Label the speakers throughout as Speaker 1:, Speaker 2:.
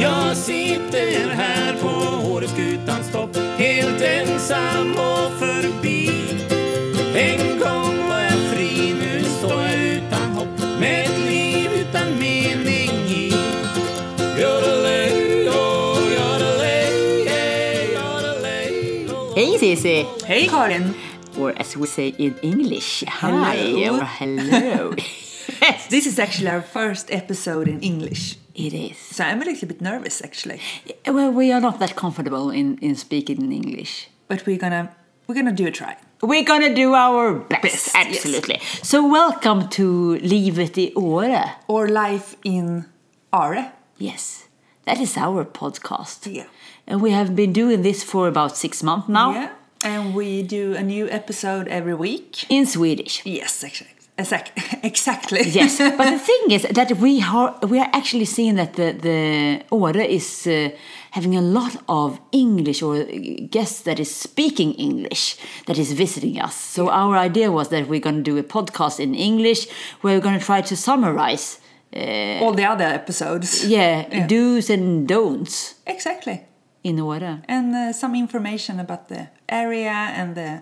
Speaker 1: Jag sitter här på Åreskutans topp Helt ensam och förbi En gång var jag fri, nu står jag utan hopp Med ett liv utan mening i Yodelay, oh, yodelay, yeah, yodelay, oh.
Speaker 2: Hej Cissi!
Speaker 3: Hej Karin!
Speaker 2: Or as we say in English, hi
Speaker 3: Hello.
Speaker 2: or hello. yes,
Speaker 3: This is actually our first episode in English.
Speaker 2: it is.
Speaker 3: So I'm a little bit nervous actually.
Speaker 2: Well, we are not that comfortable in, in speaking in English.
Speaker 3: But we're gonna, we're gonna do a try.
Speaker 2: We're gonna do our best,
Speaker 3: Best, yes.
Speaker 2: absolutely. So welcome to Livet i Åre.
Speaker 3: Or life in Are.
Speaker 2: Yes, that is our podcast.
Speaker 3: Yeah.
Speaker 2: And we have been doing this for about six months now
Speaker 3: Yeah. And we do a new episode every week.
Speaker 2: in Swedish.
Speaker 3: Yes, actually. Exact, exactly.
Speaker 2: Yes, but the thing is that we are we are actually seeing that the the Åre is uh, having a lot of English or uh, guests that is speaking English that is visiting us. So our idea was that we're going to do a podcast in English where we're going to try to summarize,
Speaker 3: All the other episodes.
Speaker 2: yeah,
Speaker 3: Yeah.
Speaker 2: do's and don'ts
Speaker 3: Exactly.
Speaker 2: in Åre.
Speaker 3: And uh, some information about the area and the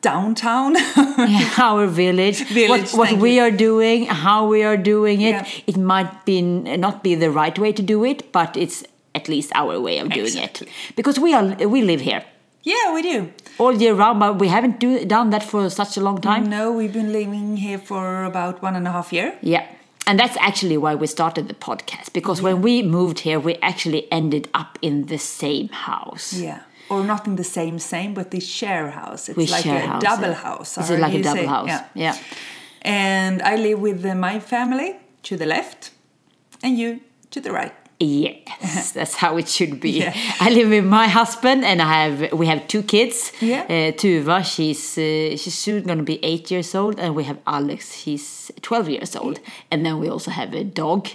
Speaker 3: downtown.
Speaker 2: our village,
Speaker 3: Village,
Speaker 2: what, what
Speaker 3: thank
Speaker 2: we
Speaker 3: you.
Speaker 2: are doing, how we are doing it.
Speaker 3: Yeah.
Speaker 2: It might be not be the right way to do it, but it's at least our way of doing
Speaker 3: Exactly.
Speaker 2: it because we are we live here
Speaker 3: yeah, we do.
Speaker 2: all year round, but we haven't do, done that for such a long time.
Speaker 3: No, we've been living here for about one and a half year.
Speaker 2: Yeah. And that's actually why we started the podcast because when we moved here, we actually ended up in the same house.
Speaker 3: Yeah. Or not in the same same, but the share house. It's
Speaker 2: We
Speaker 3: like
Speaker 2: share
Speaker 3: a
Speaker 2: house,
Speaker 3: double
Speaker 2: yeah.
Speaker 3: house.
Speaker 2: Is
Speaker 3: or
Speaker 2: it like a
Speaker 3: you
Speaker 2: double
Speaker 3: say-
Speaker 2: house?
Speaker 3: Yeah.
Speaker 2: Yeah.
Speaker 3: And I live with uh, my family to the left, and you to the right.
Speaker 2: Yes, that's how it should be.
Speaker 3: Yeah.
Speaker 2: I live with my husband, and I have we have two kids.
Speaker 3: Yeah.
Speaker 2: Uh, Tuva, she's uh, she's soon going to be eight years old, and we have Alex, he's twelve years old, and then we also have a dog,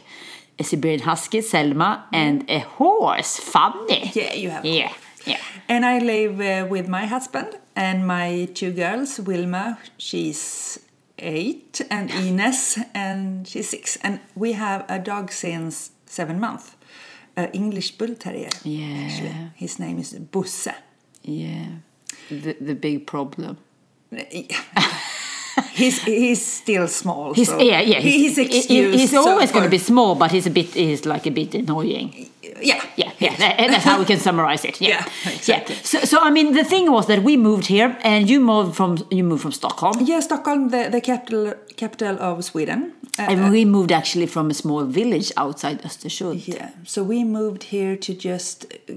Speaker 2: a Siberian Husky, Selma, and a horse, Fanny.
Speaker 3: Yeah, you have.
Speaker 2: yeah, yeah.
Speaker 3: And I live uh, with my husband and my two girls, Wilma, she's eight, and Ines, and she's six. And we have a dog since seven months, an English bull terrier.
Speaker 2: Yeah.
Speaker 3: Actually. His name is Busse.
Speaker 2: Yeah. The, the big problem.
Speaker 3: he's he's still small.
Speaker 2: He's,
Speaker 3: so
Speaker 2: yeah, yeah.
Speaker 3: He's,
Speaker 2: he- he-
Speaker 3: excused.
Speaker 2: he's
Speaker 3: so
Speaker 2: always going to be
Speaker 3: far.
Speaker 2: small, but he's a bit. He's like a bit annoying.
Speaker 3: Yeah,
Speaker 2: yeah, yeah. That, and that's how we can summarize it. Yeah,
Speaker 3: Yeah, exactly.
Speaker 2: Yeah. So, so I mean, the thing was that we moved here, and you moved from you moved from Stockholm,
Speaker 3: yeah. Stockholm, the, the capital capital of Sweden. Uh,
Speaker 2: and we moved actually from a small village outside Östersund.
Speaker 3: yeah. So we moved here to just uh,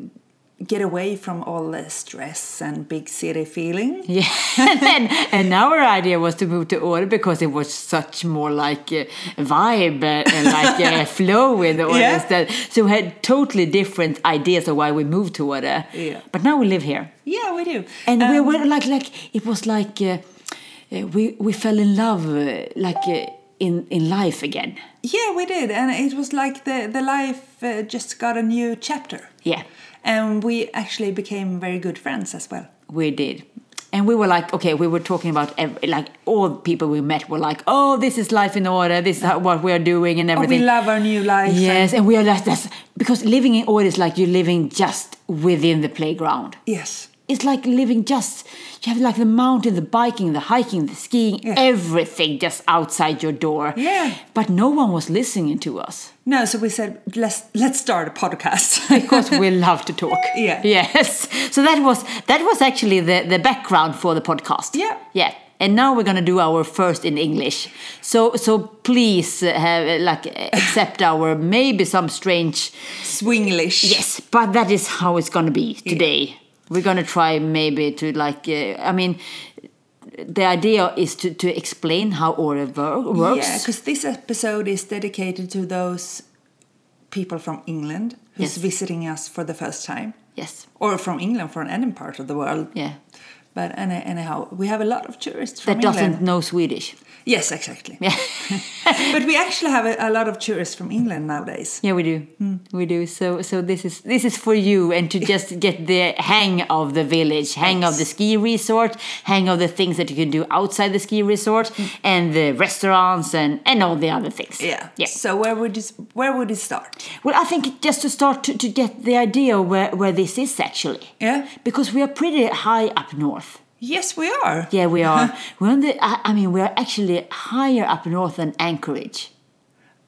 Speaker 3: get away from all the stress and big city feeling.
Speaker 2: Yeah, and then and our idea was to move to Åre because it was such more like a vibe uh, and like a flow in the Åre.
Speaker 3: Yeah.
Speaker 2: instead. So we had totally different ideas of why we moved to Åre.
Speaker 3: Yeah.
Speaker 2: But now we live here.
Speaker 3: Yeah, we do.
Speaker 2: and we
Speaker 3: Um,
Speaker 2: were like like it was like uh, uh, we we fell in love uh, like uh, in in life again
Speaker 3: yeah, we did, and it was like the the life uh, just got a new chapter.
Speaker 2: yeah
Speaker 3: And we actually became very good friends as well.
Speaker 2: we did and we were like okay we were talking about every, like all people we met were like oh this is life in order this is how, what we are doing and
Speaker 3: Oh, we
Speaker 2: everything
Speaker 3: love our new life. and-
Speaker 2: yes and we are like that's because living in order is like you're living just within the playground
Speaker 3: yes.
Speaker 2: it's like living just you have like the mountain the biking the hiking the skiing
Speaker 3: Yeah.
Speaker 2: everything just outside your door
Speaker 3: Yeah.
Speaker 2: but no one was listening to us
Speaker 3: No, so we said let's let's start a podcast.
Speaker 2: because we love to talk.
Speaker 3: Yeah.
Speaker 2: Yes. So that was that was actually the the background for the podcast.
Speaker 3: Yeah.
Speaker 2: Yeah. And now we're gonna do our first in English. So so please uh, have uh, like uh, accept our maybe some strange
Speaker 3: Swinglish.
Speaker 2: yes, but that is how it's gonna be today. We're gonna try maybe to like uh, I mean. The idea is to, to explain how aura work, works.
Speaker 3: Yeah, because this episode is dedicated to those people from England
Speaker 2: Yes.
Speaker 3: who's visiting us for the first time,
Speaker 2: Yes.
Speaker 3: or from England from any part of the world.
Speaker 2: Yeah.
Speaker 3: But any, anyhow, we have a lot of tourists from
Speaker 2: That doesn't
Speaker 3: England.
Speaker 2: know Swedish.
Speaker 3: Yes, exactly.
Speaker 2: Yeah,
Speaker 3: But we actually have a, a lot of tourists from England nowadays.
Speaker 2: yeah, we do, we do. So, so this is this is for you, and to just get the hang of the village, hang of the ski resort, hang of the things that you can do outside the ski resort, and the restaurants, and and all the other things.
Speaker 3: Yeah.
Speaker 2: yeah.
Speaker 3: So where would you, s- where would it start?
Speaker 2: Well, I think just to start to, to get the idea where, where this is actually.
Speaker 3: Yeah.
Speaker 2: Because we are pretty high up north.
Speaker 3: Yes, we are.
Speaker 2: Yeah, we are. We're on the, I, I mean, we are actually higher up north than Anchorage.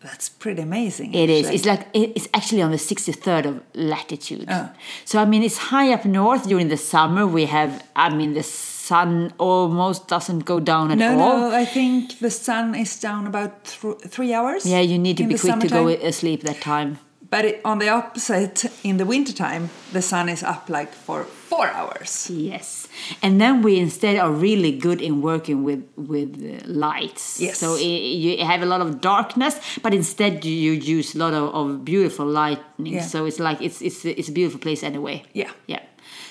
Speaker 3: That's pretty amazing.
Speaker 2: It is.
Speaker 3: actually.
Speaker 2: It's like it- it's actually on the 63rd of latitude.
Speaker 3: Oh.
Speaker 2: So I mean, it's high up north during the summer. We have, I mean, the sun almost doesn't go down at
Speaker 3: no,
Speaker 2: all.
Speaker 3: no. I think the sun is down about thr three hours.
Speaker 2: Yeah, you need to
Speaker 3: in
Speaker 2: be
Speaker 3: the
Speaker 2: quick to go
Speaker 3: summertime.
Speaker 2: asleep that time.
Speaker 3: But it, on the opposite, in the wintertime, the sun is up like for four hours.
Speaker 2: Yes, and then we instead are really good in working with with uh, lights.
Speaker 3: Yes.
Speaker 2: So i you have a lot of darkness, but instead you use a lot of, of beautiful lightning.
Speaker 3: Yeah.
Speaker 2: So it's like it's it's it's a beautiful place anyway.
Speaker 3: Yeah.
Speaker 2: Yeah.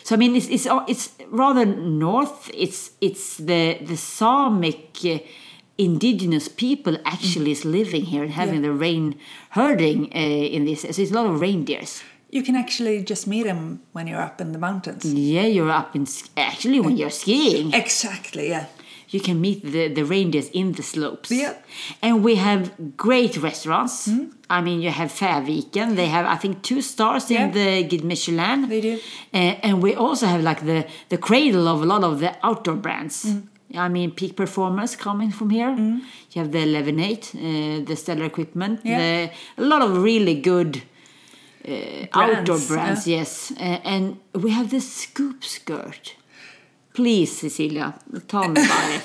Speaker 2: So I mean, it's it's it's rather north. It's it's the the Samic. Uh, Indigenous people actually is living here and having the rain herding uh, in this. So it's a lot of reindeers.
Speaker 3: You can actually just meet them when you're up in the mountains.
Speaker 2: Yeah, you're up in sk- actually when you're skiing.
Speaker 3: Exactly. Yeah.
Speaker 2: you can meet the, the reindeers in the slopes.
Speaker 3: Yeah.
Speaker 2: And we have great restaurants. I mean, you have Färviken. They have, I think, two stars in
Speaker 3: Yeah.
Speaker 2: the Guide Michelin.
Speaker 3: They do.
Speaker 2: Uh, and we also have like the, the cradle of a lot of the outdoor brands. I mean, peak performance coming from here. You have the Levinate, uh, the Stellar Equipment,
Speaker 3: Yeah.
Speaker 2: the, a lot of really good uh, outdoor
Speaker 3: Brands,
Speaker 2: brands, yes. Uh, and we have the scoop skirt. Please, Cecilia, tell me about it.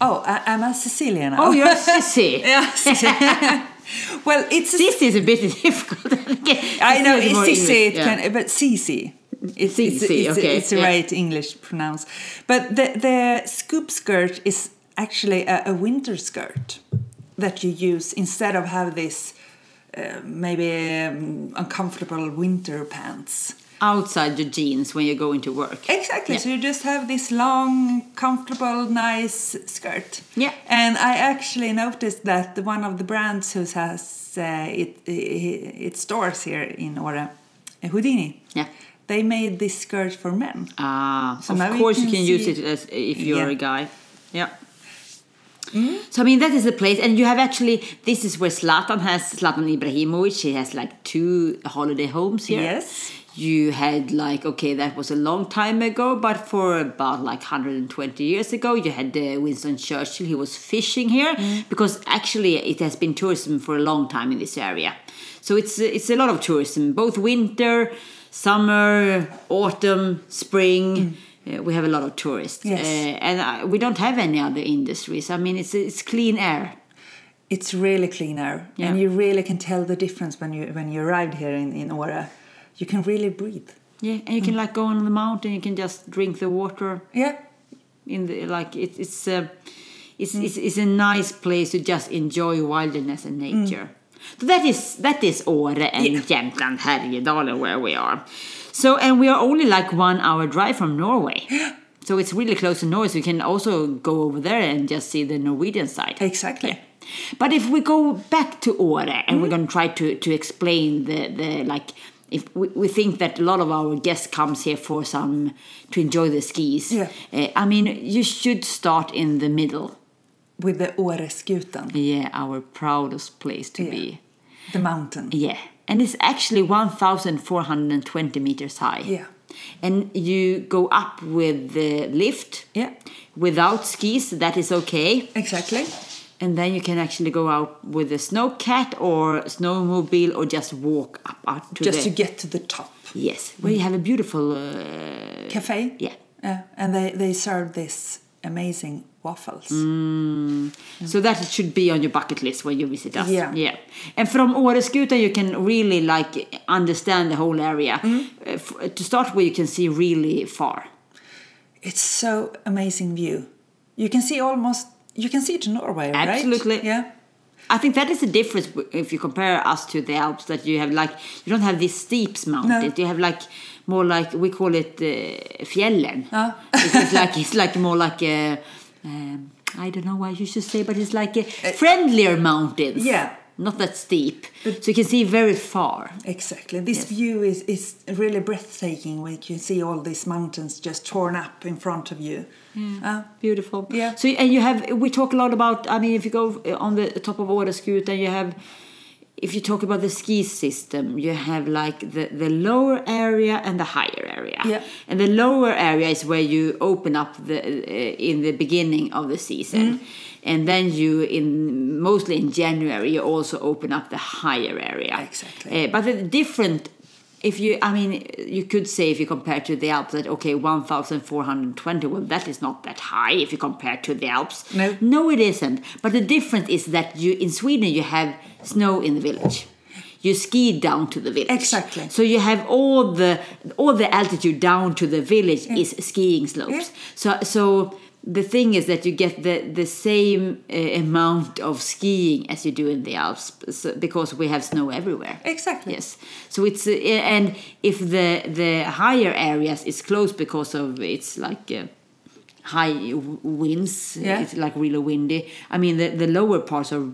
Speaker 3: Oh, I, I'm a Sicilian. now.
Speaker 2: Oh, you're a sissy.
Speaker 3: Yes. well, it's a
Speaker 2: Sissy is a bit difficult.
Speaker 3: I know
Speaker 2: It's
Speaker 3: it's
Speaker 2: more
Speaker 3: Sisi,
Speaker 2: English,
Speaker 3: it
Speaker 2: yeah.
Speaker 3: can, but Sisi. It's, it's,
Speaker 2: Sisi,
Speaker 3: it's,
Speaker 2: okay,
Speaker 3: it's the
Speaker 2: yeah.
Speaker 3: right English pronounce. But the, the scoop skirt is actually a, a winter skirt that you use instead of have this uh, maybe um, uncomfortable winter pants.
Speaker 2: Outside your jeans when you're going to work.
Speaker 3: Exactly. So you just have this long, comfortable, nice skirt.
Speaker 2: Yeah.
Speaker 3: And I actually noticed that the- one of the brands who has uh, it, it, it stores here in Åre, Houdini.
Speaker 2: Yeah.
Speaker 3: They made this skirt for men.
Speaker 2: Ah,
Speaker 3: So now
Speaker 2: of
Speaker 3: we
Speaker 2: course you
Speaker 3: can
Speaker 2: can use
Speaker 3: see-
Speaker 2: it as if you're
Speaker 3: Yeah. Mm-hmm.
Speaker 2: a guy. Yeah. So I mean that is the place, and you have actually this is where Zlatan has Zlatan Ibrahimovic. He has like two holiday homes here.
Speaker 3: Yes.
Speaker 2: You had like okay, that was a long time ago, but for about like 120 years ago, you had uh, Winston Churchill. He was fishing here because actually it has been tourism for a long time in this area. So it's it's a lot of tourism, both winter, summer, autumn, spring. Uh, we have a lot of tourists,
Speaker 3: Yes.
Speaker 2: uh, and I, we don't have any other industries. I mean, it's it's clean air.
Speaker 3: It's really clean air,
Speaker 2: Yeah.
Speaker 3: and you really can tell the difference when you when you arrived here in in Åre. You can really breathe.
Speaker 2: Yeah, and you can like go on the mountain. You can just drink the water.
Speaker 3: Yeah.
Speaker 2: in the like it, it's uh, it's, it's it's a nice place to just enjoy wilderness and nature. So that is that is Åre and Jämtland Härjedalen where we are. So and we are only like one hour drive from Norway. So it's really close to Norway. So you can also go over there and just see the Norwegian side.
Speaker 3: Exactly.
Speaker 2: But if we go back to Åre and we're
Speaker 3: Mm-hmm.
Speaker 2: going to try to, to explain the, the like, if we, we think that a lot of our guests comes here for some to enjoy the skis.
Speaker 3: Yeah.
Speaker 2: Uh, I mean, you should start in the middle.
Speaker 3: With the Åreskutan,
Speaker 2: Yeah, our proudest place to
Speaker 3: Yeah.
Speaker 2: be.
Speaker 3: the mountain.
Speaker 2: Yeah, and it's actually 1,420 meters high.
Speaker 3: Yeah.
Speaker 2: And you go up with the lift.
Speaker 3: Yeah.
Speaker 2: Without skis, that is okay.
Speaker 3: Exactly.
Speaker 2: And then you can actually go out with a snowcat or snowmobile or just walk up out to
Speaker 3: Just
Speaker 2: the
Speaker 3: to get to the top.
Speaker 2: yes, where you have a beautiful uh,
Speaker 3: cafe.
Speaker 2: yeah.
Speaker 3: Yeah, and they they serve this amazing waffles.
Speaker 2: Mm. So that should be on your bucket list when you visit us.
Speaker 3: Yeah.
Speaker 2: yeah. And from Åreskutan you can really like understand the whole area.
Speaker 3: Mm-hmm.
Speaker 2: Uh, f- to start with, you can see really far.
Speaker 3: It's so amazing view. You can see almost you can see to Norway, right?
Speaker 2: Absolutely.
Speaker 3: Yeah.
Speaker 2: I think that is the difference w- if you compare us to the Alps. That you have like you don't have these steep mountains. You have like more like we call it uh, fjällen. It's, it's like it's like more like a, uh, um, I don't know why you should say, but it's like a friendlier mountains.
Speaker 3: yeah.
Speaker 2: Not that steep. so you can see very far.
Speaker 3: Exactly. This view is, is really breathtaking where you can see all these mountains just torn up in front of you. Uh,
Speaker 2: Beautiful.
Speaker 3: Yeah.
Speaker 2: So and you have we talk a lot about. I mean, if you go uh, on the top of Åreskutan, you have. If you talk about the ski system, you have like the, the lower area and the higher area.
Speaker 3: Yeah.
Speaker 2: And the lower area is where you open up the uh, in the beginning of the season,
Speaker 3: Mm-hmm.
Speaker 2: and then you in mostly in January you also open up the higher area.
Speaker 3: Exactly.
Speaker 2: Uh, but the different, if you, I mean, you could say if you compare to the Alps that, okay, 1,420, well, that is not that high if you compare to the Alps.
Speaker 3: No.
Speaker 2: No, it isn't. But the difference is that you, in Sweden, you have snow in the village. You ski down to the village.
Speaker 3: Exactly.
Speaker 2: So you have all the all the altitude down to the village is skiing slopes. So so the thing is that you get the the same uh, amount of skiing as you do in the Alps so, because we have snow everywhere.
Speaker 3: Exactly.
Speaker 2: Yes. So it's uh, and if the the higher areas is closed because of it's like. Uh, high w- winds
Speaker 3: Yeah.
Speaker 2: it's like really windy i mean the, the lower parts are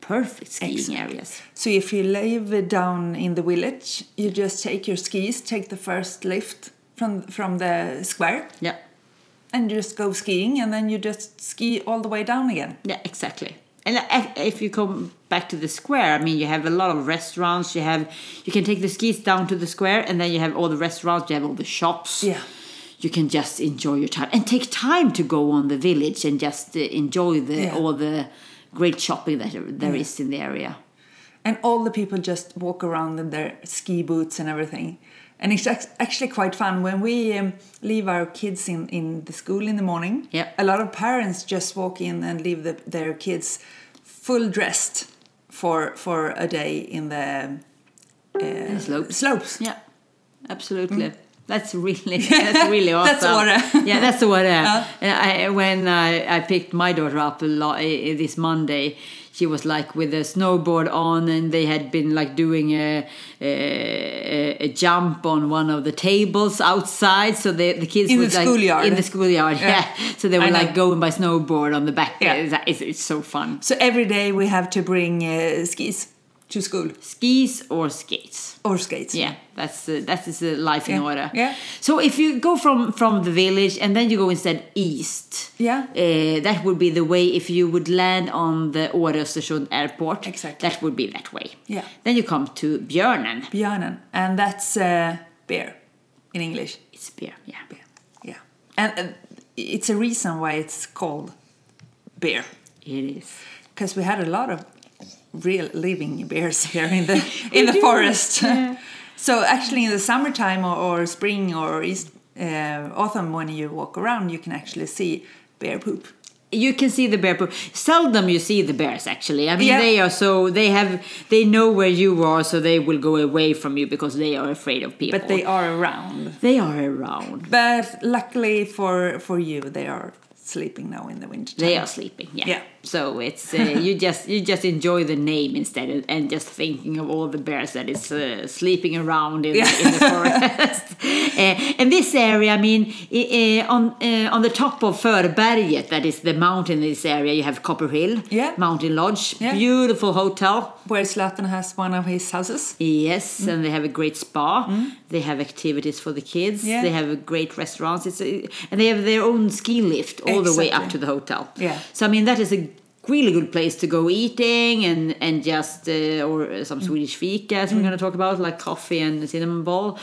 Speaker 2: perfect skiing
Speaker 3: Exactly.
Speaker 2: areas
Speaker 3: So if you live down in the village, you just take your skis, take the first lift from from the square,
Speaker 2: yeah
Speaker 3: and you just go skiing, and then you just ski all the way down again.
Speaker 2: Yeah, exactly. And i- if you come back to the square, I mean, you have a lot of restaurants. You have you can take the skis down to the square, and then you have all the restaurants. You have all the shops.
Speaker 3: Yeah.
Speaker 2: You can just enjoy your time and take time to go on the village and just uh, enjoy the
Speaker 3: Yeah.
Speaker 2: all the great shopping that there is in the area.
Speaker 3: And all the people just walk around in their ski boots and everything. And it's ac- actually quite fun. When we um, leave our kids in, in the school in the morning,
Speaker 2: Yeah.
Speaker 3: a lot of parents just walk in and leave the, their kids full dressed for for a day in the uh,
Speaker 2: slopes.
Speaker 3: slopes.
Speaker 2: Yeah, absolutely. That's really that's really awesome.
Speaker 3: Mm. That's what, uh,
Speaker 2: yeah, that's what. Uh, I, when I, I picked my daughter up a lot, uh, this Monday, she was like with a snowboard on, and they had been like doing a a, a jump on one of the tables outside. So the the kids
Speaker 3: In
Speaker 2: were
Speaker 3: the
Speaker 2: like
Speaker 3: schoolyard.
Speaker 2: in the schoolyard. Yeah.
Speaker 3: Yeah.
Speaker 2: So they were
Speaker 3: I know.
Speaker 2: like going by snowboard on the back.
Speaker 3: Yeah.
Speaker 2: It's, it's, it's so fun.
Speaker 3: So every day we have to bring uh, skis to school
Speaker 2: Skis or skates.
Speaker 3: or skates.
Speaker 2: Yeah, that's uh, that is the life in
Speaker 3: Yeah,
Speaker 2: order.
Speaker 3: yeah.
Speaker 2: So if you go from from the village and then you go instead east.
Speaker 3: Yeah.
Speaker 2: Uh, that would be the way if you would land on the Östersund airport.
Speaker 3: Exactly.
Speaker 2: That would be that way.
Speaker 3: Yeah.
Speaker 2: Then you come to Björnen.
Speaker 3: Björnen, and that's uh, bear in English.
Speaker 2: It's beer. Yeah.
Speaker 3: Bear. Yeah. And uh, it's a reason why it's called bear.
Speaker 2: It is.
Speaker 3: Because we had a lot of real living bears here in the in the
Speaker 2: do,
Speaker 3: forest.
Speaker 2: yeah.
Speaker 3: so actually in the summertime or, or spring or east, uh, autumn when you walk around you can actually see bear poop.
Speaker 2: you can see the bear poop. Seldom you see the bears actually. I mean,
Speaker 3: Yeah.
Speaker 2: they are so they have they know where you are, so they will go away from you because they are afraid of people.
Speaker 3: But they are around.
Speaker 2: they are around.
Speaker 3: But luckily for for you they are sleeping now in the winter.
Speaker 2: they are sleeping yeah,
Speaker 3: Yeah.
Speaker 2: so it's uh, you just you just enjoy the name instead and, and just thinking of all the bears that is uh, sleeping around in, in the forest uh, and this area i mean i- uh, on uh, on the top of Förberget that is the mountain in this area you have copper hill
Speaker 3: Yeah.
Speaker 2: mountain lodge
Speaker 3: Yeah.
Speaker 2: beautiful hotel
Speaker 3: Where Zlatan has one of his houses.
Speaker 2: Yes, and they have a great spa. They have activities for the kids.
Speaker 3: Yeah.
Speaker 2: They have a great restaurants. It's a, and they have their own ski lift all the way up
Speaker 3: Exactly.
Speaker 2: to the hotel.
Speaker 3: Yeah.
Speaker 2: So I mean that is a really good place to go eating and and just uh, or uh, some Swedish fika as we're going to talk about like coffee and cinnamon ball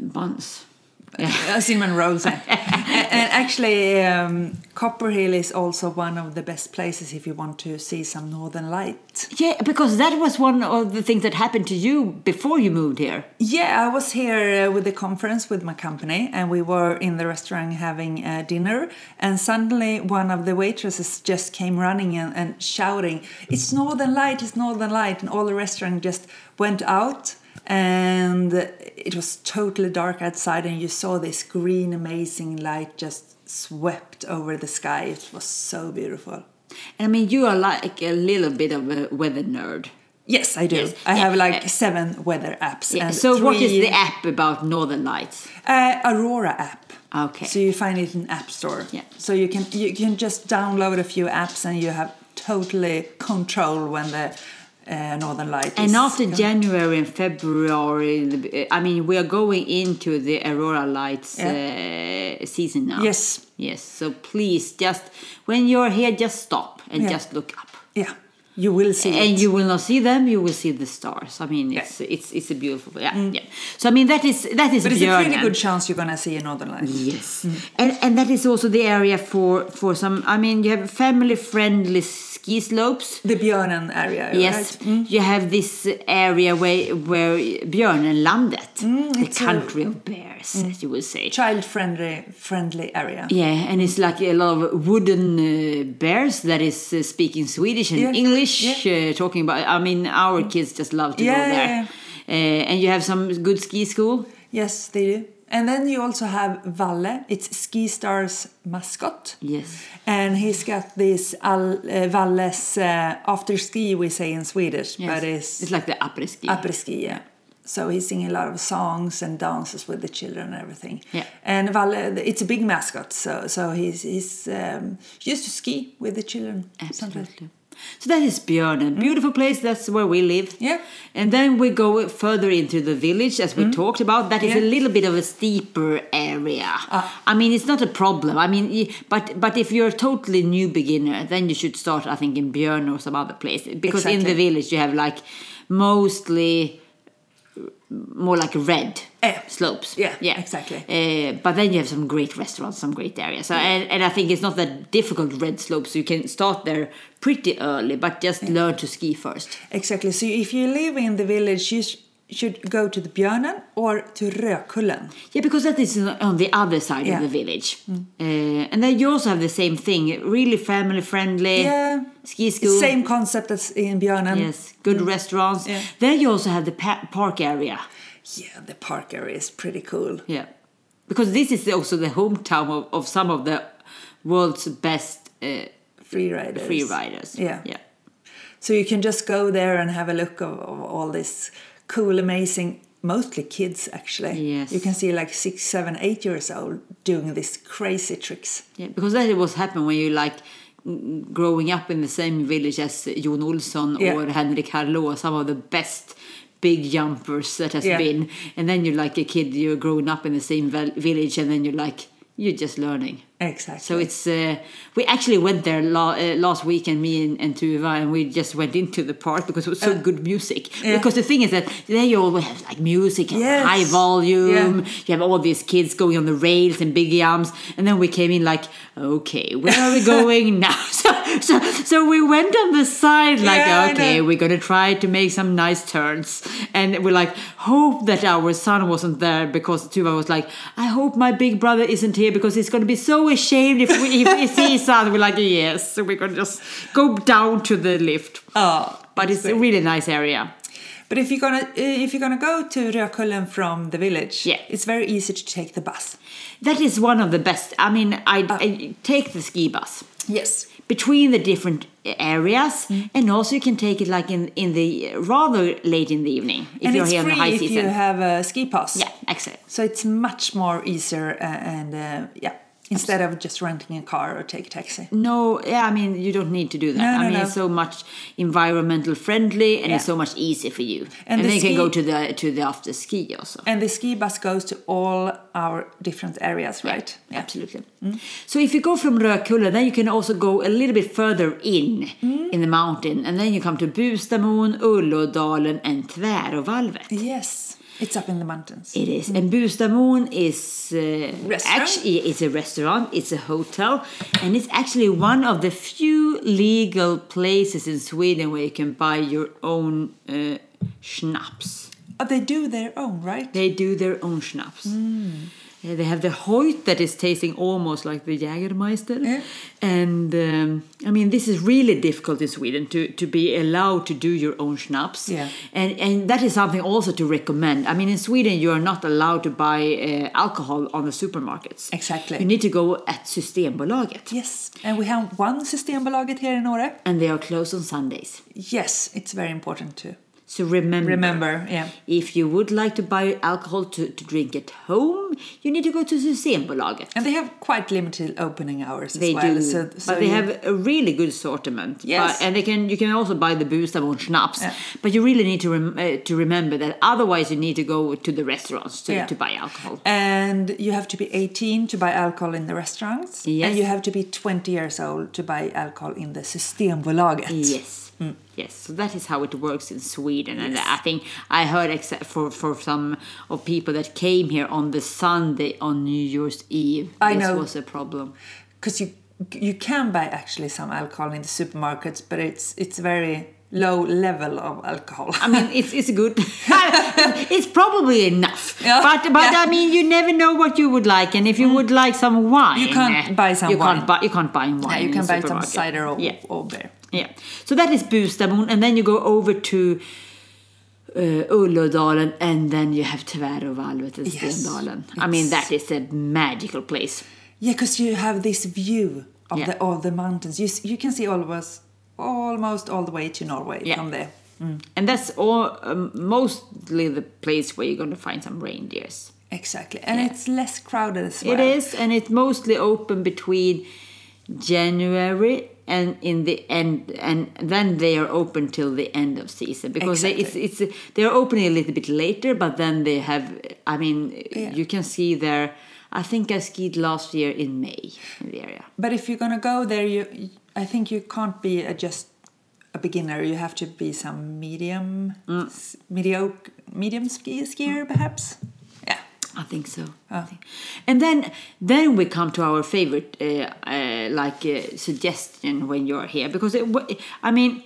Speaker 2: buns.
Speaker 3: Uh, Cinnamon rolls. and, and actually, um, Copperhill is also one of the best places if you want to see some northern light.
Speaker 2: Yeah, because that was one of the things that happened to you before you moved here.
Speaker 3: Yeah, I was here uh, with a conference with my company, and we were in the restaurant having uh, dinner. And suddenly, one of the waitresses just came running and, and shouting, "It's northern light! It's northern light!" And all the restaurant just went out, and it was totally dark outside, and you saw this green, amazing light just swept over the sky. It was so beautiful.
Speaker 2: And I mean you are like a little bit of a weather nerd.
Speaker 3: Yes, I do.
Speaker 2: Yes,
Speaker 3: I
Speaker 2: yeah,
Speaker 3: have like
Speaker 2: uh,
Speaker 3: seven weather apps.
Speaker 2: Yeah,
Speaker 3: and
Speaker 2: so what is
Speaker 3: three-
Speaker 2: the app about Northern Lights?
Speaker 3: Uh, Aurora app.
Speaker 2: Okay.
Speaker 3: So you find it in App Store.
Speaker 2: Yeah.
Speaker 3: So you can you can just download a few apps and you have totally control when the uh, Northern Light is.
Speaker 2: And after
Speaker 3: coming.
Speaker 2: January and February, the- I mean, we are going into the Aurora Lights uh, season now.
Speaker 3: Yes.
Speaker 2: Yes. So please, just when you're here, just stop and
Speaker 3: Yeah.
Speaker 2: just look up.
Speaker 3: Yeah, you will see.
Speaker 2: And
Speaker 3: it.
Speaker 2: you will not see them. You will see the stars. I mean, it's it's it's a beautiful. Yeah, yeah. So I mean, that is that is.
Speaker 3: Mm. but it's a pretty
Speaker 2: Björnen.
Speaker 3: good Mm. chance you're gonna see a Northern Light.
Speaker 2: Yes, and and that is also the area for for some. I mean, you have family friendly ski slopes.
Speaker 3: The Björnen area.
Speaker 2: Yes,
Speaker 3: Right?
Speaker 2: you have this area where where Björnlandet, the
Speaker 3: Mm, it's a- Mm.
Speaker 2: country of bears, as you would say.
Speaker 3: Child friendly friendly area.
Speaker 2: Yeah, and it's like a lot of wooden uh, bears that is uh, speaking Swedish and
Speaker 3: Yeah, Mm.
Speaker 2: English, uh, talking about. I mean, our kids just love to
Speaker 3: Yeah,
Speaker 2: go
Speaker 3: yeah,
Speaker 2: there.
Speaker 3: yeah.
Speaker 2: Uh, and you have some good ski school.
Speaker 3: Yes, they do. And then you also have Valle. It's Ski Star's mascot.
Speaker 2: Yes.
Speaker 3: And he's got this Al, uh, Valles uh, after ski, we say in Swedish,
Speaker 2: yes.
Speaker 3: but it's,
Speaker 2: it's like the après ski.
Speaker 3: après ski, yeah. So he's singing a lot of songs and dances with the children and everything.
Speaker 2: Yeah.
Speaker 3: And Valle, it's a big mascot, so so he's he's um, he used to ski with the children. sometimes.
Speaker 2: Absolutely. So that is Björnen. Beautiful place. That's where we live.
Speaker 3: Mm. Yeah. Mm.
Speaker 2: And then we go further into the village, as we talked about. That is a
Speaker 3: Yeah. Ah.
Speaker 2: little bit of a steeper area. I mean, it's not a problem. I mean, y- but but if you're a totally new beginner, then you should start, I think, in Björn or some other place. Because in the
Speaker 3: Exactly.
Speaker 2: village, you have like mostly uh, more like red
Speaker 3: Yeah.
Speaker 2: slopes.
Speaker 3: Yeah, exactly.
Speaker 2: Uh, but then you have some great restaurants, some great areas. So, and, and I think it's not that difficult red slopes. You can start there pretty early, but just learn to ski first.
Speaker 3: Exactly. So if you live in the village, you sh- should go to the Björnen or to Rökullen.
Speaker 2: Yeah, because that is on the other side
Speaker 3: Yeah. Mm.
Speaker 2: of the village. Uh, and then you also have the same thing really family friendly
Speaker 3: Yeah.
Speaker 2: ski school.
Speaker 3: Same concept as in Björnen.
Speaker 2: Yes, good restaurants.
Speaker 3: Yeah.
Speaker 2: Then you also have the pa- park area.
Speaker 3: Yeah, the park area is pretty cool.
Speaker 2: Yeah, because this is also the hometown of, of some of the world's best uh,
Speaker 3: Free riders.
Speaker 2: free riders.
Speaker 3: Yeah.
Speaker 2: yeah.
Speaker 3: So you can just go there and have a look of, of all this cool, amazing, mostly kids actually.
Speaker 2: Yes.
Speaker 3: You can see like six, seven, eight years old doing these crazy tricks.
Speaker 2: Yeah, because that was happened when you like mm, growing up in the same village as Jon Olsson
Speaker 3: Yeah.
Speaker 2: or Henrik Harlo or some of the best big jumpers that has
Speaker 3: Yeah.
Speaker 2: been. And then you're like a kid, you're growing up in the same val- village, and then you're like you're just learning.
Speaker 3: Exactly.
Speaker 2: So it's uh, we actually went there la- uh, last weekend, me and, and Tuva, and we just went into the park because it was so good music.
Speaker 3: Uh, yeah.
Speaker 2: Because the thing is that there you always have like music and
Speaker 3: Yes.
Speaker 2: high volume.
Speaker 3: Yeah.
Speaker 2: You have all these kids going on the rails and big arms, and then we came in like, okay, where are we going now? So so so we went on the side like,
Speaker 3: Yeah, I
Speaker 2: okay,
Speaker 3: know.
Speaker 2: we're gonna try to make some nice turns, and we like hope that our son wasn't there because Tuva was like, I hope my big brother isn't here because he's gonna be so ashamed if we if he sees us. We're like, yes, so we're gonna just go down to the lift.
Speaker 3: Oh,
Speaker 2: But it's a really nice area.
Speaker 3: but if you're gonna eh, if you're gonna go to Rökullen from the village,
Speaker 2: Yeah.
Speaker 3: it's very easy to take the bus.
Speaker 2: That is one of the best. I mean, I,
Speaker 3: Uh.
Speaker 2: I take the ski bus.
Speaker 3: Yes.
Speaker 2: between the different areas
Speaker 3: Mm.
Speaker 2: and also you can take it like in in the uh, rather late in the evening if
Speaker 3: and
Speaker 2: you're
Speaker 3: it's
Speaker 2: here in
Speaker 3: free
Speaker 2: the high
Speaker 3: if
Speaker 2: season
Speaker 3: you have a ski pass.
Speaker 2: yeah excellent
Speaker 3: So it's much more easier uh, and uh, yeah, instead of just renting a car or take a taxi.
Speaker 2: no yeah i mean you don't need to do that
Speaker 3: No,
Speaker 2: i
Speaker 3: no,
Speaker 2: mean
Speaker 3: no.
Speaker 2: it's so much environmental friendly and it's
Speaker 3: Yeah.
Speaker 2: so much easier for you and,
Speaker 3: And
Speaker 2: then
Speaker 3: the
Speaker 2: you can go
Speaker 3: ski-
Speaker 2: to the to the after ski also
Speaker 3: And the ski bus goes to all our different areas, right? Mm.
Speaker 2: Absolutely. So if you go from Rökulla, then you can also go a little bit further in
Speaker 3: Mm.
Speaker 2: in the mountain, and then you come to Bustamon, Ullådalen, and Tväråvalvet.
Speaker 3: Yes, it's up in the mountains.
Speaker 2: It is. And Bustamon is uh,
Speaker 3: Restaurant?
Speaker 2: actually it's a restaurant, it's a hotel, and it's actually one of the few legal places in Sweden where you can buy your own uh, schnapps.
Speaker 3: Oh, they do their own, right?
Speaker 2: They do their own schnapps.
Speaker 3: Mm.
Speaker 2: Uh, they have the Hoyt that is tasting almost like the Jägermeister.
Speaker 3: Yeah.
Speaker 2: And um, I mean, this is really difficult in Sweden to, to be allowed to do your own schnapps.
Speaker 3: Yeah.
Speaker 2: And, and that is something also to recommend. I mean, in Sweden, you are not allowed to buy uh, alcohol on the supermarkets.
Speaker 3: Exactly.
Speaker 2: You need to go at Systembolaget.
Speaker 3: Yes, and we have one Systembolaget here in Åre.
Speaker 2: And they are closed on Sundays.
Speaker 3: Yes, it's very important to
Speaker 2: So remember,
Speaker 3: Remember, yeah.
Speaker 2: if you would like to buy alcohol to, to drink at home, you need to go to Systembolaget.
Speaker 3: And they have quite limited opening hours as
Speaker 2: They
Speaker 3: well.
Speaker 2: do,
Speaker 3: So, so
Speaker 2: but they
Speaker 3: you-
Speaker 2: have a really good assortment.
Speaker 3: Yes.
Speaker 2: But- and they can you can also buy the booze and schnapps.
Speaker 3: Yeah.
Speaker 2: But you really need to rem- uh, to remember that otherwise you need to go to the restaurants to,
Speaker 3: Yeah.
Speaker 2: to buy alcohol.
Speaker 3: And you have to be 18 to buy alcohol in the restaurants.
Speaker 2: Yes.
Speaker 3: And you have to be 20 years old to buy alcohol in the Systembolaget.
Speaker 2: Yes.
Speaker 3: Mm.
Speaker 2: Yes, so that is how it works in Sweden, and I think I heard except for for some of people that came here on the Sunday on New Year's Eve.
Speaker 3: I
Speaker 2: this
Speaker 3: know.
Speaker 2: was a problem.
Speaker 3: Because you you can buy actually some alcohol in the supermarkets, but it's it's very low level of alcohol.
Speaker 2: I mean, it's it's good. it's probably enough.
Speaker 3: Yeah.
Speaker 2: But but
Speaker 3: Yeah. Mm.
Speaker 2: I mean, you never know what you would like, and if you would like some wine, eh,
Speaker 3: You can't buy some
Speaker 2: you
Speaker 3: wine.
Speaker 2: Can't buy, you can't buy wine.
Speaker 3: Yeah, you
Speaker 2: in
Speaker 3: can
Speaker 2: the
Speaker 3: buy some
Speaker 2: supermarket.
Speaker 3: cider or,
Speaker 2: yeah,
Speaker 3: or beer.
Speaker 2: yeah. So that is Bustamon, and then you go over to uh, Ullådalen, and then you have Tväråvalvet and
Speaker 3: Yes.
Speaker 2: Stendalen. I mean, that is a magical place.
Speaker 3: Yeah, because you have this view of
Speaker 2: Yeah.
Speaker 3: the all the mountains. You s- you can see all of us almost all the way to Norway
Speaker 2: Yeah.
Speaker 3: from there.
Speaker 2: And that's all um, mostly the place where you're going to find some reindeers.
Speaker 3: Exactly, and
Speaker 2: Yeah.
Speaker 3: it's less crowded as well.
Speaker 2: It is, and it's mostly open between January and in the end, and then they are open till the end of season because they,
Speaker 3: Exactly.
Speaker 2: it's it's they're opening a little bit later, but then they have. I mean, you can see there. I think I skied last year in May in the area.
Speaker 3: But if you're gonna go there, you I think you can't be a, just a beginner. You have to be some medium,
Speaker 2: Mm.
Speaker 3: s- mediocre, medium ski skier perhaps. Yeah.
Speaker 2: I think so.
Speaker 3: Ah.
Speaker 2: I think. And then then we come to our favorite uh, uh, like uh, suggestion when you're here because it, wa- I mean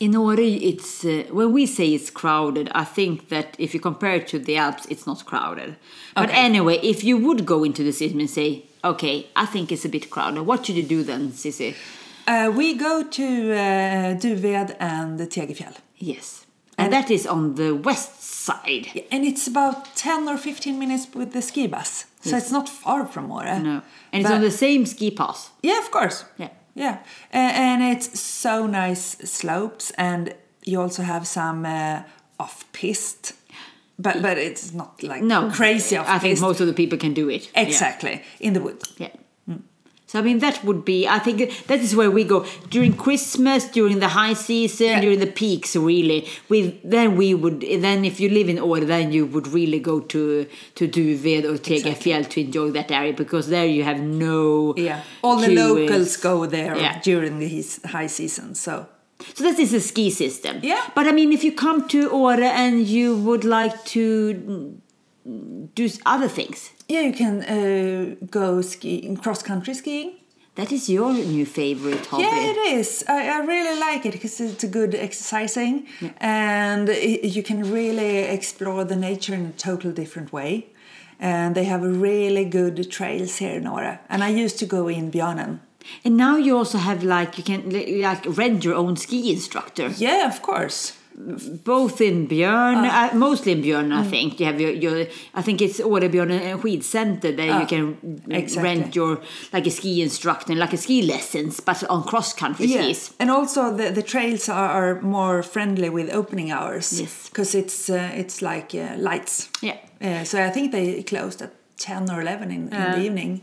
Speaker 2: in Åre it's uh, when we say it's crowded I think that if you compare it to the Alps it's not crowded. But
Speaker 3: Okay.
Speaker 2: anyway, if you would go into the city and say, "Okay, I think it's a bit crowded." What should you do then, Sissy?
Speaker 3: Uh, we go to uh, Duved and Tegefjäll.
Speaker 2: Yes. And that is on the west side.
Speaker 3: Yeah, and it's about 10 or 15 minutes with the ski bus. So it's not far from Åre.
Speaker 2: No. And it's
Speaker 3: But-
Speaker 2: on the same ski pass.
Speaker 3: Yeah, of course.
Speaker 2: Yeah.
Speaker 3: Yeah. Uh, and it's so nice slopes, and you also have some uh, off piste. But, but it's not like
Speaker 2: No.
Speaker 3: crazy off
Speaker 2: I think
Speaker 3: piste.
Speaker 2: most of the people can do it. Yeah.
Speaker 3: Exactly. In the woods.
Speaker 2: Yeah. So I mean that would be I think that is where we go during Christmas, during the high season,
Speaker 3: Yeah.
Speaker 2: during the peaks really. We then we would then if you live in Åre then you would really go to to Duved or Tegefjäll to enjoy that area because there you have no
Speaker 3: Yeah. All the
Speaker 2: queues.
Speaker 3: locals go there
Speaker 2: Yeah.
Speaker 3: during the his- high season. So
Speaker 2: So this is a ski system.
Speaker 3: Yeah.
Speaker 2: But I mean, if you come to Åre and you would like to mm, do s- other things,
Speaker 3: yeah, you can uh, go ski cross country skiing.
Speaker 2: that is your new favorite hobby.
Speaker 3: Yeah, it is. I, I really like it because it's a good exercising, and i you can really explore the nature in a total different way. And they have really good trails here in Ora. And I used to go in Björnen.
Speaker 2: And now you also have like you can li- like rent your own ski instructor,
Speaker 3: Yeah, of course.
Speaker 2: both in Björn,
Speaker 3: Ah.
Speaker 2: uh, mostly in Björn,
Speaker 3: Mm.
Speaker 2: I think. You have your, your I think it's Årebjörn and skidcenter there you can
Speaker 3: Ah. exactly.
Speaker 2: rent your like a ski instructor, like a ski lessons, but on cross country skis.
Speaker 3: And also the, the trails are, are more friendly with opening hours.
Speaker 2: Yes.
Speaker 3: Because it's uh, it's like uh, lights.
Speaker 2: Yeah.
Speaker 3: Uh, so I think they closed at ten or eleven in, in the evening.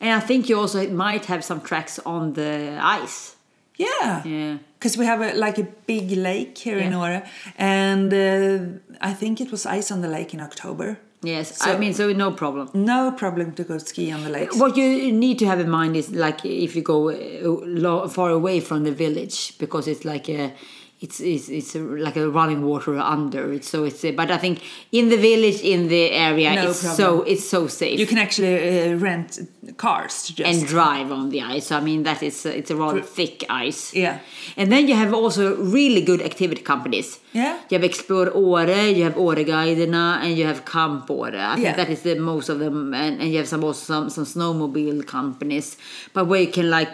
Speaker 2: And I think you also might have some tracks on the ice.
Speaker 3: Yeah.
Speaker 2: Yeah.
Speaker 3: Because we have a, like a big lake here in
Speaker 2: Yeah.
Speaker 3: Åre, and uh, I think it was ice on the lake in October.
Speaker 2: Yes, I
Speaker 3: So-
Speaker 2: mean, so no problem.
Speaker 3: No problem to go ski on the lake.
Speaker 2: What you need to have in mind is like if you go uh, lo- far away from the village because it's like a, it's it's, it's a, like a running water under it. So it's a, but I think in the village in the area
Speaker 3: No
Speaker 2: it's
Speaker 3: problem.
Speaker 2: so it's so safe
Speaker 3: You can actually uh, rent cars to just.
Speaker 2: and drive on the ice. I mean that is it's a rather thick ice.
Speaker 3: Yeah.
Speaker 2: And then you have also really good activity companies.
Speaker 3: Yeah.
Speaker 2: You have Explore Åre, you have Åreguiderna, and you have Camp Åre. I think
Speaker 3: Yeah.
Speaker 2: that is the most of them, and, and you have some also some some snowmobile companies, but where you can like.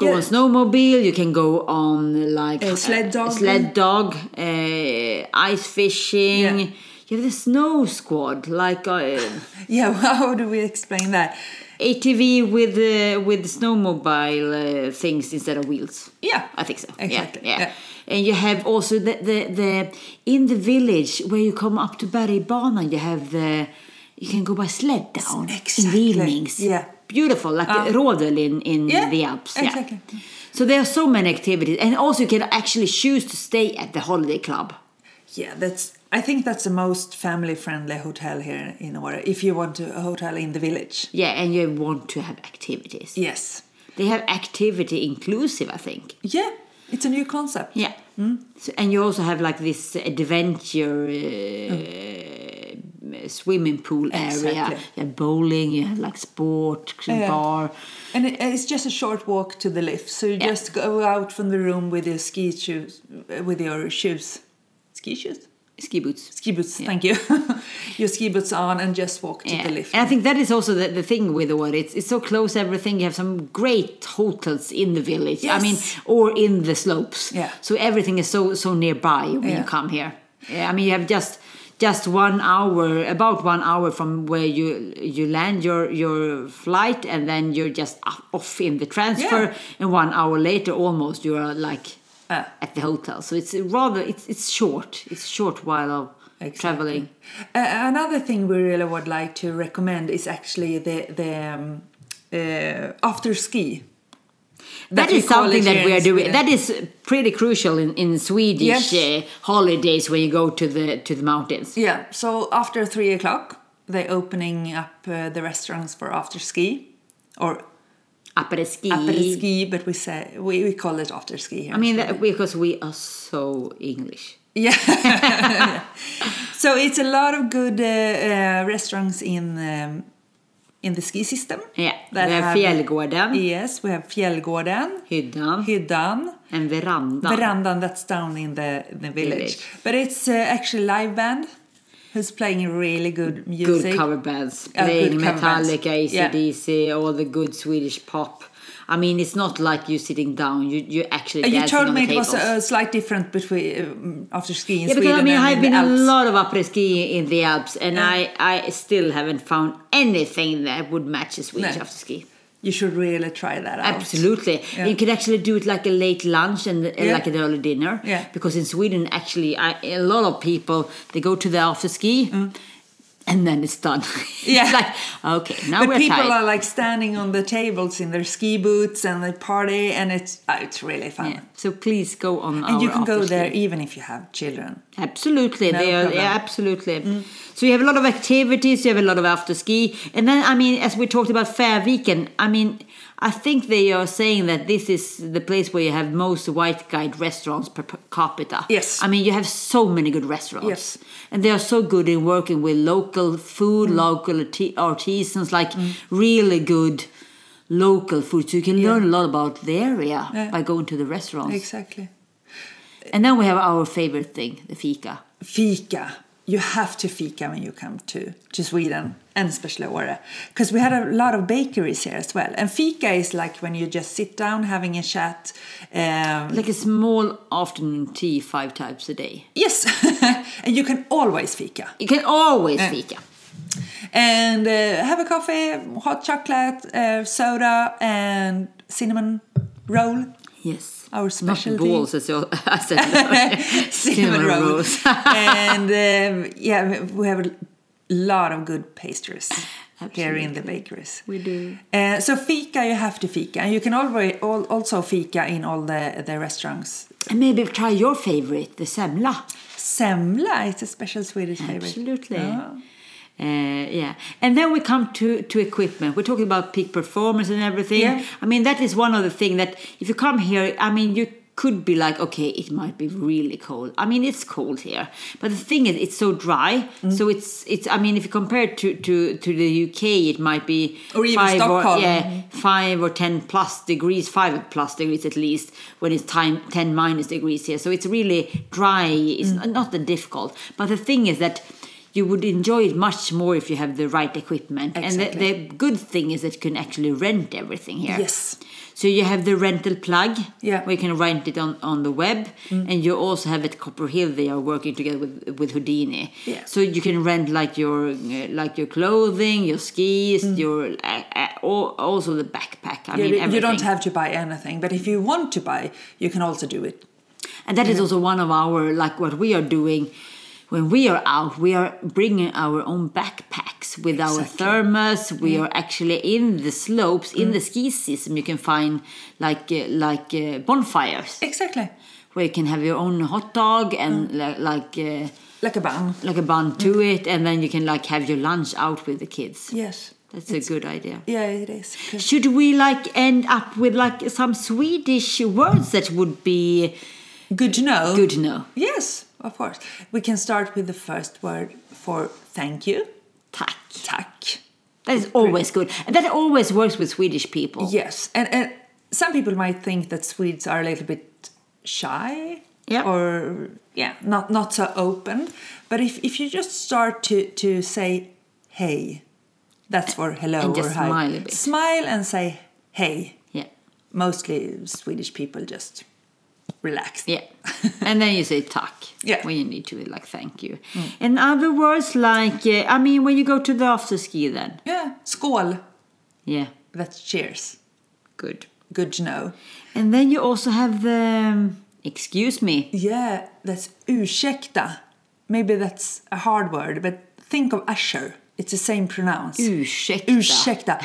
Speaker 2: Go
Speaker 3: Yeah.
Speaker 2: on snowmobile. You can go on like
Speaker 3: Uh, sled dog.
Speaker 2: sled dog, uh, ice fishing.
Speaker 3: Yeah.
Speaker 2: You have the snow squad, like uh,
Speaker 3: yeah, how do we explain that?
Speaker 2: ATV with uh, with snowmobile uh, things instead of wheels.
Speaker 3: Yeah,
Speaker 2: I think so.
Speaker 3: exactly.
Speaker 2: Yeah, yeah.
Speaker 3: Yeah.
Speaker 2: And you have also the, the the in the village where you come up to Bergbanan, you have the you can go by sled down
Speaker 3: Exactly.
Speaker 2: in the evenings.
Speaker 3: Yeah. Ah.
Speaker 2: Beautiful, like uh, Rodel in, in
Speaker 3: Yeah,
Speaker 2: the Alps.
Speaker 3: exactly.
Speaker 2: Yeah. So there are so many activities, and also you can actually choose to stay at the holiday club.
Speaker 3: Yeah, that's. I think that's the most family-friendly hotel here in Åre. If you want to, a hotel in the village,
Speaker 2: Yeah, and you want to have activities.
Speaker 3: yes.
Speaker 2: They have activity inclusive, I think.
Speaker 3: Yeah, it's a new concept.
Speaker 2: Yeah.
Speaker 3: Hmm?
Speaker 2: So, and you also have like this adventure uh, swimming pool area.
Speaker 3: Hmm. Exactly.
Speaker 2: You have bowling, you have like sport,
Speaker 3: Yeah.
Speaker 2: bar.
Speaker 3: And it, it's just a short walk to the lift, so you
Speaker 2: Yeah.
Speaker 3: just go out from the room with your ski shoes, uh, with your shoes, ski shoes,
Speaker 2: Ski boots.
Speaker 3: ski boots. Thank you, your ski boots on, and just walk to
Speaker 2: Yeah.
Speaker 3: the lift.
Speaker 2: And I think that is also the, the thing with what it's it's so close to everything. You have some great hotels in the village. I mean,
Speaker 3: Yes.
Speaker 2: or in the slopes.
Speaker 3: Yeah.
Speaker 2: So everything is so so nearby when you
Speaker 3: Yeah.
Speaker 2: come here. Yeah, I mean, you have just just one hour, about one hour from where you you land your your flight, and then you're just up- off in the transfer. And one hour later, almost you are like
Speaker 3: Ah.
Speaker 2: at the hotel. So it's rather it's it's short. It's short while of traveling.
Speaker 3: Uh, another thing we really would like to recommend is actually the the um, uh, after ski.
Speaker 2: that
Speaker 3: we
Speaker 2: is
Speaker 3: call
Speaker 2: something
Speaker 3: it
Speaker 2: that
Speaker 3: here
Speaker 2: we are
Speaker 3: in
Speaker 2: doing.
Speaker 3: Sweden.
Speaker 2: That is pretty crucial in, in Swedish uh,
Speaker 3: Yes.
Speaker 2: holidays when you go to the to the mountains.
Speaker 3: Yeah, so after three o'clock, they're opening up uh, the restaurants for after ski or
Speaker 2: Après ski.
Speaker 3: après ski, but we say we, we call it after ski here.
Speaker 2: I mean, that, because we are so English.
Speaker 3: so it's a lot of good uh, uh, restaurants in um, in the ski system.
Speaker 2: Yeah,
Speaker 3: that
Speaker 2: we have Fjällgården,
Speaker 3: Yes, we have Fjällgården,
Speaker 2: Hyddan,
Speaker 3: Hyddan,
Speaker 2: and Veranda.
Speaker 3: Verandan that's down in the the village.
Speaker 2: Village.
Speaker 3: But it's uh, actually live band who's playing really good
Speaker 2: good
Speaker 3: music.
Speaker 2: cover bands,
Speaker 3: Yeah, good
Speaker 2: playing
Speaker 3: cover bands.
Speaker 2: Metallica,
Speaker 3: Yeah.
Speaker 2: ACDC, all the good Swedish pop. I mean, it's not like you sitting down. You you actually
Speaker 3: Uh, You
Speaker 2: dancing
Speaker 3: told
Speaker 2: on
Speaker 3: me
Speaker 2: the
Speaker 3: it was
Speaker 2: tables.
Speaker 3: a, a slight difference between um, after skiing in
Speaker 2: Yeah,
Speaker 3: Sweden
Speaker 2: because I mean,
Speaker 3: and
Speaker 2: I've
Speaker 3: in the
Speaker 2: been a
Speaker 3: Alps.
Speaker 2: lot of après ski in the Alps, and I, I still haven't found anything that would match a Swedish
Speaker 3: No.
Speaker 2: after ski.
Speaker 3: You should really try that out.
Speaker 2: Absolutely,
Speaker 3: Yeah.
Speaker 2: you could actually do it like a late lunch and uh,
Speaker 3: Yeah.
Speaker 2: like an early dinner.
Speaker 3: Yeah.
Speaker 2: Because in Sweden, actually, I, a lot of people they go to the after ski, and then it's done.
Speaker 3: Mm. Yeah.
Speaker 2: it's like okay, now
Speaker 3: But
Speaker 2: we're
Speaker 3: people
Speaker 2: tired.
Speaker 3: are like standing on the tables in their ski boots and they party, and it's uh, it's really fun.
Speaker 2: Yeah. So please go on.
Speaker 3: And you
Speaker 2: our
Speaker 3: can go
Speaker 2: after-ski.
Speaker 3: there even if you have children.
Speaker 2: Absolutely,
Speaker 3: No
Speaker 2: they are
Speaker 3: problem. Mm.
Speaker 2: yeah, absolutely. So you have a lot of activities, you have a lot of after ski, and then I mean, as we talked about Fairviken, I mean, I think they are saying that this is the place where you have most white guide restaurants per, per capita.
Speaker 3: Yes.
Speaker 2: I mean, you have so many good restaurants,
Speaker 3: Yes. Mm.
Speaker 2: and they are so good in working with local food, local arti- artisans, like really good local food. So you can learn a lot about the area
Speaker 3: Yeah.
Speaker 2: by going to the restaurants,
Speaker 3: Exactly.
Speaker 2: and then we have our favorite thing, the fika.
Speaker 3: fika. You have to fika when you come to, to Sweden and especially Åre. Because we had a lot of bakeries here as well. And fika is like when you just sit down having a chat. Um,
Speaker 2: Like a small afternoon tea five times a day.
Speaker 3: yes, and you can always fika.
Speaker 2: You can always fika.
Speaker 3: And uh, have a coffee, hot chocolate, uh, soda, and cinnamon roll.
Speaker 2: Yes.
Speaker 3: Our
Speaker 2: Not
Speaker 3: specialty.
Speaker 2: balls, as you- I said. earlier. Cinnamon rolls. Eh.
Speaker 3: and um, yeah, we have a lot of good pastries here in the bakeries.
Speaker 2: We do.
Speaker 3: Uh, so fika, you have to fika, and you can always al- also fika in all the, the restaurants.
Speaker 2: and maybe try your favorite, the semla.
Speaker 3: Semla is a special Swedish favorite. Ah,
Speaker 2: Absolutely. Uh, yeah, and then we come to, to equipment. We're talking about peak performance and everything.
Speaker 3: Yeah.
Speaker 2: I mean, that is one of the things that if you come here, I mean, you could be like, okay, it might be really cold. I mean, it's cold here, but the thing is, it's so dry.
Speaker 3: Mm.
Speaker 2: So it's it's. I mean, if you compare it to to to the UK, it might be
Speaker 3: Or even
Speaker 2: five
Speaker 3: Stockholm.
Speaker 2: Or, yeah, five or ten plus degrees, five plus degrees at least, when it's time ten minus degrees here. So it's really dry. It's
Speaker 3: Mm.
Speaker 2: not that difficult. But the thing is that you would enjoy it much more if you have the right equipment. And
Speaker 3: Exactly.
Speaker 2: the, the good thing is that you can actually rent everything here.
Speaker 3: Yes.
Speaker 2: So you have the rental plug,
Speaker 3: Yeah. Mm.
Speaker 2: where you can rent it on, on the web, and you also have at Copper Hill. They are working together with with Houdini,
Speaker 3: Yeah.
Speaker 2: so you can rent like your uh, like your clothing, your skis,
Speaker 3: Mm.
Speaker 2: your uh, uh, al- also the backpack. I
Speaker 3: You-
Speaker 2: mean,
Speaker 3: you,
Speaker 2: everything.
Speaker 3: don't have to buy anything, but if you want to buy, you can also do it.
Speaker 2: And that is also one of our, like what we are doing when we are out, we are bringing our own backpacks with our thermos. We are actually in the slopes,
Speaker 3: Mm.
Speaker 2: in the ski system, you can find like uh, like uh, bonfires
Speaker 3: Exactly.
Speaker 2: where you can have your own hot dog and li- like uh,
Speaker 3: Like a bun.
Speaker 2: like a bun to it, and then you can like have your lunch out with the kids.
Speaker 3: Yes.
Speaker 2: That's a good idea.
Speaker 3: Yeah, it is. 'Cause-
Speaker 2: Should we like end up with like some Swedish words that would be
Speaker 3: Good to know.
Speaker 2: good to know?
Speaker 3: Yes, of course. We can start with the first word for thank you.
Speaker 2: Tack.
Speaker 3: Tack.
Speaker 2: That is always good. And that always works with Swedish people.
Speaker 3: Yes, and, and some people might think that Swedes are a little bit shy.
Speaker 2: Yeah.
Speaker 3: Or yeah, not not so open. But if if you just start to to say hey, that's for hello
Speaker 2: And
Speaker 3: or
Speaker 2: just
Speaker 3: hi.
Speaker 2: smile a bit.
Speaker 3: Smile and say hey.
Speaker 2: Yeah.
Speaker 3: Mostly Swedish people just relax.
Speaker 2: Yeah. and then you say tack.
Speaker 3: Yeah.
Speaker 2: When you need to, like thank you. And other words like, uh, I mean, when you go to the after ski then.
Speaker 3: Yeah. Skål.
Speaker 2: Yeah.
Speaker 3: That's cheers.
Speaker 2: Good.
Speaker 3: Good to know.
Speaker 2: And then you also have the, um, excuse me.
Speaker 3: Yeah, that's ursäkta. Maybe that's a hard word, but think of usher. It's the same pronounce.
Speaker 2: Ursäkta.
Speaker 3: Ursäkta.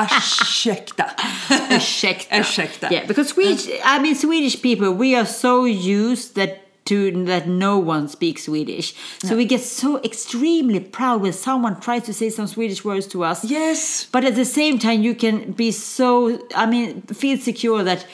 Speaker 3: Ursäkta.
Speaker 2: Ursäkta.
Speaker 3: Ursäkta.
Speaker 2: Yeah, because Swedish, I mean, Swedish people, we are so used that to that no one speaks Swedish, so we get so extremely proud when someone tries to say some Swedish words to us.
Speaker 3: Yes.
Speaker 2: but at the same time, you can be so, I mean, feel secure that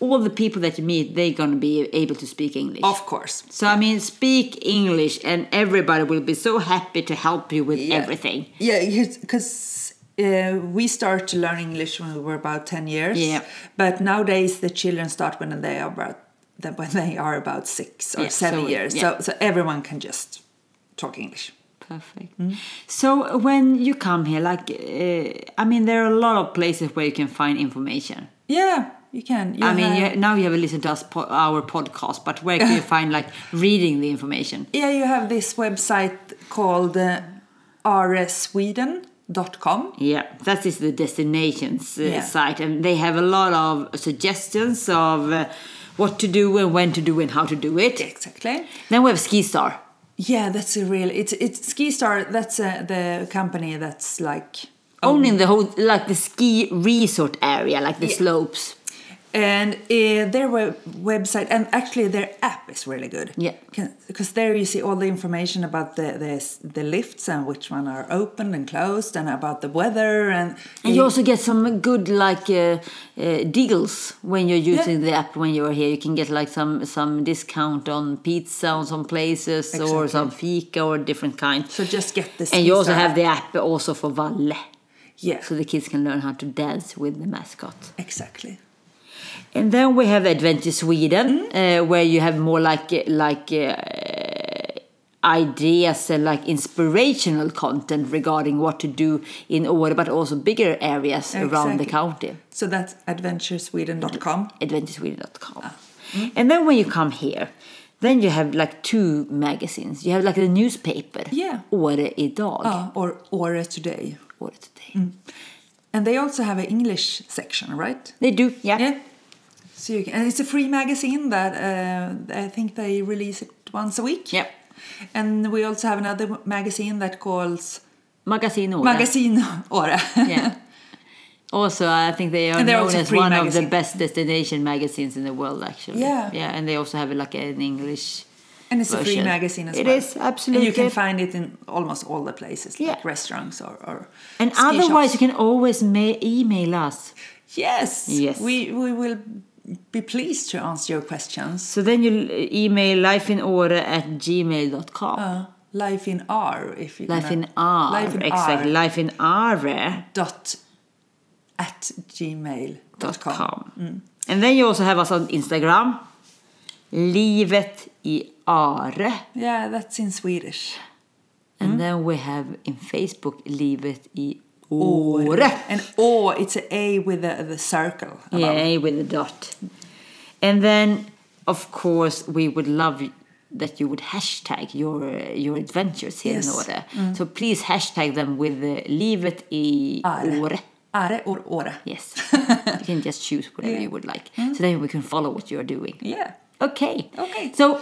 Speaker 2: all the people that you meet, they're gonna be able to speak English.
Speaker 3: Of course.
Speaker 2: so I mean, speak English, and everybody will be so happy to help you with
Speaker 3: Yeah.
Speaker 2: everything.
Speaker 3: Yeah, because uh, we started to learn English when we were about 10 years.
Speaker 2: Yeah.
Speaker 3: But nowadays the children start when they are about that when they are about six or
Speaker 2: Yeah,
Speaker 3: seven
Speaker 2: so-
Speaker 3: years.
Speaker 2: yeah.
Speaker 3: So so everyone can just talk English.
Speaker 2: Perfect. So when you come here, like, uh, I mean, there are a lot of places where you can find information.
Speaker 3: Yeah, you can. You
Speaker 2: I mean,
Speaker 3: have-
Speaker 2: you, now you have listened to us po- our podcast, but where can you find like reading the information?
Speaker 3: Yeah, you have this website called uh, rsweden.com.
Speaker 2: Yeah, that is the destinations uh,
Speaker 3: Yeah.
Speaker 2: site, and they have a lot of suggestions of uh, what to do and when to do and how to do it.
Speaker 3: Exactly.
Speaker 2: Then we have Ski Star.
Speaker 3: Yeah, that's a real. It's it's SkiStar. That's uh, the company that's like,
Speaker 2: Owning the whole, like the ski resort area, like the
Speaker 3: Yeah.
Speaker 2: slopes.
Speaker 3: and uh, their web- website and actually their app is really good.
Speaker 2: Yeah.
Speaker 3: because there you see all the information about the the s- the lifts and which one are open and closed and about the weather and.
Speaker 2: And you also get some good like uh, uh, deals when you're using the app when you're here. You can get like some some discount on pizza on some places or
Speaker 3: Exactly.
Speaker 2: some fika or different kind.
Speaker 3: so just get this.
Speaker 2: and you also have the app also for Valle,
Speaker 3: Yeah,
Speaker 2: so the kids can learn how to dance with the
Speaker 3: Mm.
Speaker 2: mascot.
Speaker 3: exactly.
Speaker 2: And then we have Adventure Sweden,
Speaker 3: Mm.
Speaker 2: uh, where you have more like uh, like uh, ideas and like inspirational content regarding what to do in Åre, but also bigger areas around the
Speaker 3: Exactly.
Speaker 2: county.
Speaker 3: So that's adventuresweden.com.
Speaker 2: adventuresweden.com. And then when you come here, then you have like two magazines. You have like the newspaper,
Speaker 3: Yeah.
Speaker 2: Åre idag,
Speaker 3: Ah, or Åre today.
Speaker 2: Åre today.
Speaker 3: And they also have an English section, right?
Speaker 2: They do, yeah.
Speaker 3: So you can, and it's a free magazine that uh, I think they release it once a week.
Speaker 2: Yeah.
Speaker 3: And we also have another magazine that calls
Speaker 2: Magasin Åre.
Speaker 3: Magazine Åre.
Speaker 2: Yeah. Also, I think they are
Speaker 3: And they're
Speaker 2: known
Speaker 3: also
Speaker 2: as
Speaker 3: free
Speaker 2: one of
Speaker 3: magazine.
Speaker 2: the best destination magazines in the world, actually.
Speaker 3: Yeah.
Speaker 2: Yeah, and they also have like an English.
Speaker 3: and it's a free
Speaker 2: Version.
Speaker 3: magazine as
Speaker 2: It
Speaker 3: well.
Speaker 2: is, absolutely.
Speaker 3: And you can find it in almost all the places, like
Speaker 2: Yeah.
Speaker 3: restaurants or, or
Speaker 2: And
Speaker 3: ski
Speaker 2: otherwise,
Speaker 3: shops.
Speaker 2: you can always ma- email us.
Speaker 3: Yes.
Speaker 2: Yes.
Speaker 3: We, we will be pleased to answer your questions.
Speaker 2: So then you email lifeinore at gmail.com.
Speaker 3: Uh, life in R, if you
Speaker 2: Oh, Life in R.
Speaker 3: Life in
Speaker 2: exactly.
Speaker 3: R.
Speaker 2: Life in R.
Speaker 3: dot at gmail.com.
Speaker 2: com. Mm. And then you also have us on Instagram. Livet i Are.
Speaker 3: Yeah, that's in Swedish.
Speaker 2: Mm. And then we have in Facebook Livet i Åre.
Speaker 3: And or it's an A with the, the circle. above.
Speaker 2: Yay, with a dot. And then, of course, we would love that you would hashtag your uh, your adventures here in
Speaker 3: Yes.
Speaker 2: Åre. So please hashtag them with uh, livet i
Speaker 3: Åre.
Speaker 2: Åre.
Speaker 3: Are or ora.
Speaker 2: Yes. you can just choose whatever you would like. So then we can follow what you're doing.
Speaker 3: Yeah.
Speaker 2: Okay.
Speaker 3: Okay.
Speaker 2: So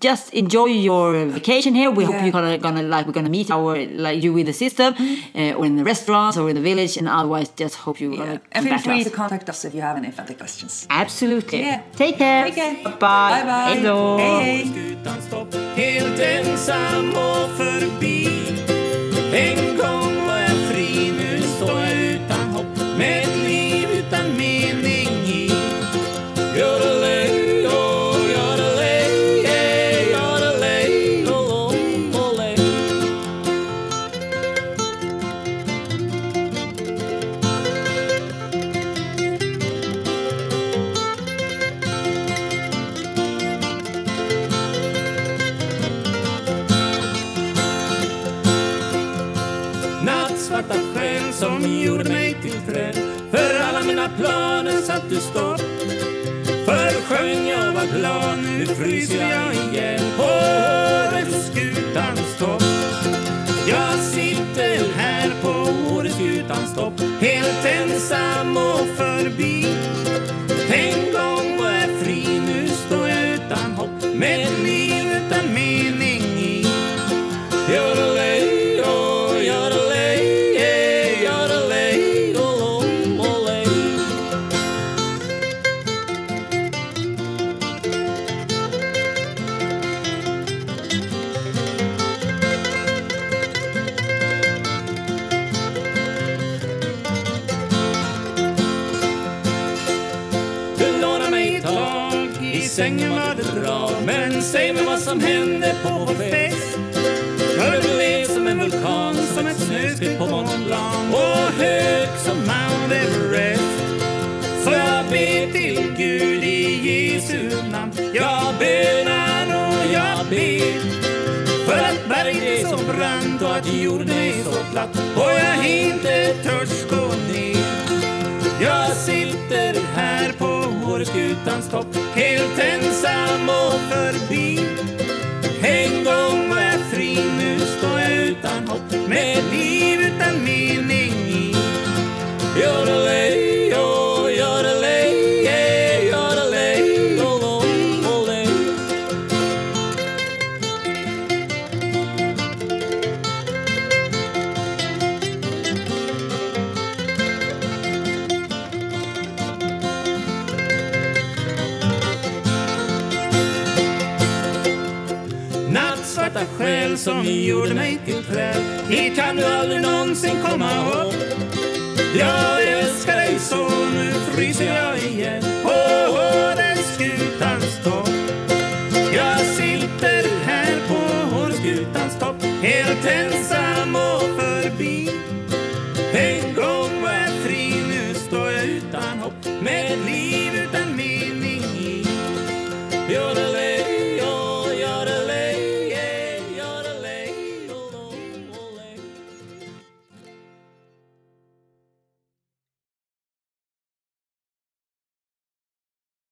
Speaker 2: just enjoy your vacation here. We hope
Speaker 3: Yeah. Mm-hmm.
Speaker 2: you're gonna, gonna like we're gonna meet our like you with the system, uh, or in the restaurants or in the village, and otherwise just hope you're
Speaker 3: yeah.
Speaker 2: gonna come
Speaker 3: And feel
Speaker 2: back to
Speaker 3: free
Speaker 2: us.
Speaker 3: to contact us if you have any further questions.
Speaker 2: Absolutely.
Speaker 3: Yeah.
Speaker 2: Take care.
Speaker 3: Take care.
Speaker 2: Bye.
Speaker 3: Bye-bye.
Speaker 2: Hello.
Speaker 3: Hey, hey.
Speaker 1: Åreskutan stopp Helt ensam och förbi En gång var jag fri Nu står jag utan hopp Med ett liv utan mening i Yodelay, oh, yodelay, yeah, yodelay, oh, oh, olay. Nattsvarta sken som gjorde mig till träd För alla mina planer satt du stopp Förr sjöng jag var glad, nu fryser jag igen På Åreskutans topp Jag sitter här på Åreskutans topp Helt ensam och förbi En gång var jag fri, nu står jag utan hopp Med ett liv utan mening i Yodelay, oh, yodelay, yeah, yodelay, oh, oh, olay. Du lånar mig ett tag, i sängen var det bra Men säg mig vad som hände på vår fest För du blev som en vulkan, som ett snöskred på Mont Blanc Och hög som Mount Everest Så jag ber till Gud i Jesu namn Jag bönar och jag ber för att berget är så brant och att jorden är så platt och jag inte törs gå ner jag sitter här på Åreskutans topp Helt ensam och förbi En gång var jag fri, nu står jag utan hopp Med ett liv utan mening i Yodelay, oh, yodelay, yeah, yodelay, oh, oh, olay. Nattsvarta själ som gjorde mig till träd Hit kan du aldrig någonsin komma upp Jag älskar dig så, nu fryser jag igen oh, oh,